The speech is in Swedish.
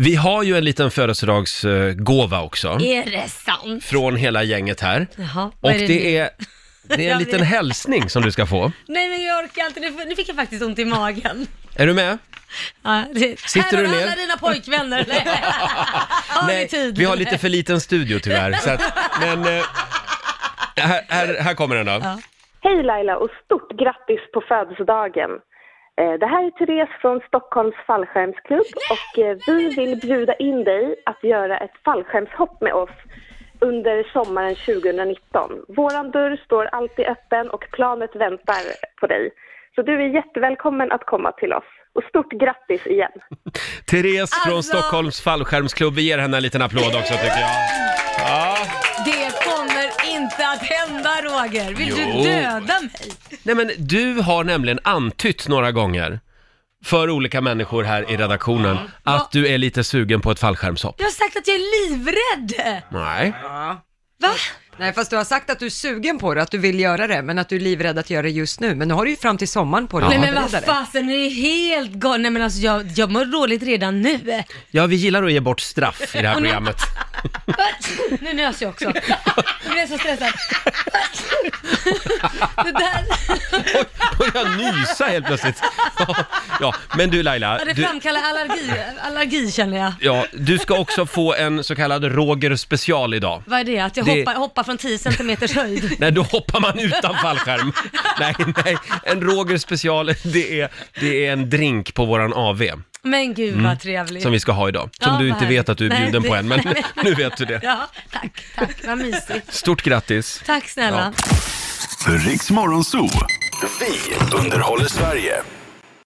Vi har ju en liten födelsedagsgåva också. Är det sant? Från hela gänget här. Jaha, Mm. Och vad är det, nu? det är, det är en Jag liten vet. hälsning som du ska få. Nej men jag orkar inte, nu, nu fick jag faktiskt ont i magen. Är du med? Ja, det... Sitter Här har du du ner? alla dina pojkvänner. Nej. Har ni tid? vi har lite för liten studio tyvärr. Så att, men eh, här, här, här kommer den då. Hej Laila och stort grattis på födelsedagen. Eh, Det här är Therese från Stockholms fallskärmsklubb och eh, vi vill bjuda in dig att göra ett fallskärmshopp med oss under sommaren 2019. Våran dörr står alltid öppen och planet väntar på dig. Så du är jättevälkommen att komma till oss. Och stort grattis igen! Therese från Alltså- Stockholms fallskärmsklubb. Vi ger henne en liten applåd också tycker jag. Det kommer inte att hända Roger. Vill Jo. du döda mig? Nej men du har nämligen antytt några gånger för olika människor här i redaktionen att du är lite sugen på ett fallskärmshopp. Jag har sagt att jag är livrädd. Nej. Ja. Va? Nej, fast du har sagt att du är sugen på det, att du vill göra det, men att du är livrädd att göra det just nu. Men nu har du ju fram till sommaren på dig Nej att men förbereda vad dig. fasen, det är helt galet. Nej men alltså jag, jag mår dåligt redan nu. Ja, vi gillar att ge bort straff i det här Och nu- programmet. Nu nös jag också. Jag blev så stressad. Det där, Oj, börjar nysa helt plötsligt. Ja, men du Laila, det du, framkallar allergi, allergi känner jag. ja, du ska också få en så kallad Roger special idag. Vad är det? Att jag Det- Hoppar, hoppar från 10 centimeters höjd? Nej, då hoppar man utan fallskärm. Nej, nej, en Roger special, det är, det är en drink på våran AV Men gud vad trevligt. Mm. som vi ska ha idag. Som Ja, du vad inte härligt. vet att du är Nej, bjuden det- på än, men nej. nu vet du det. Ja, tack, tack, vad mysigt. Stort grattis! Tack snälla. Riks Morgonzoo. Vi underhåller Sverige.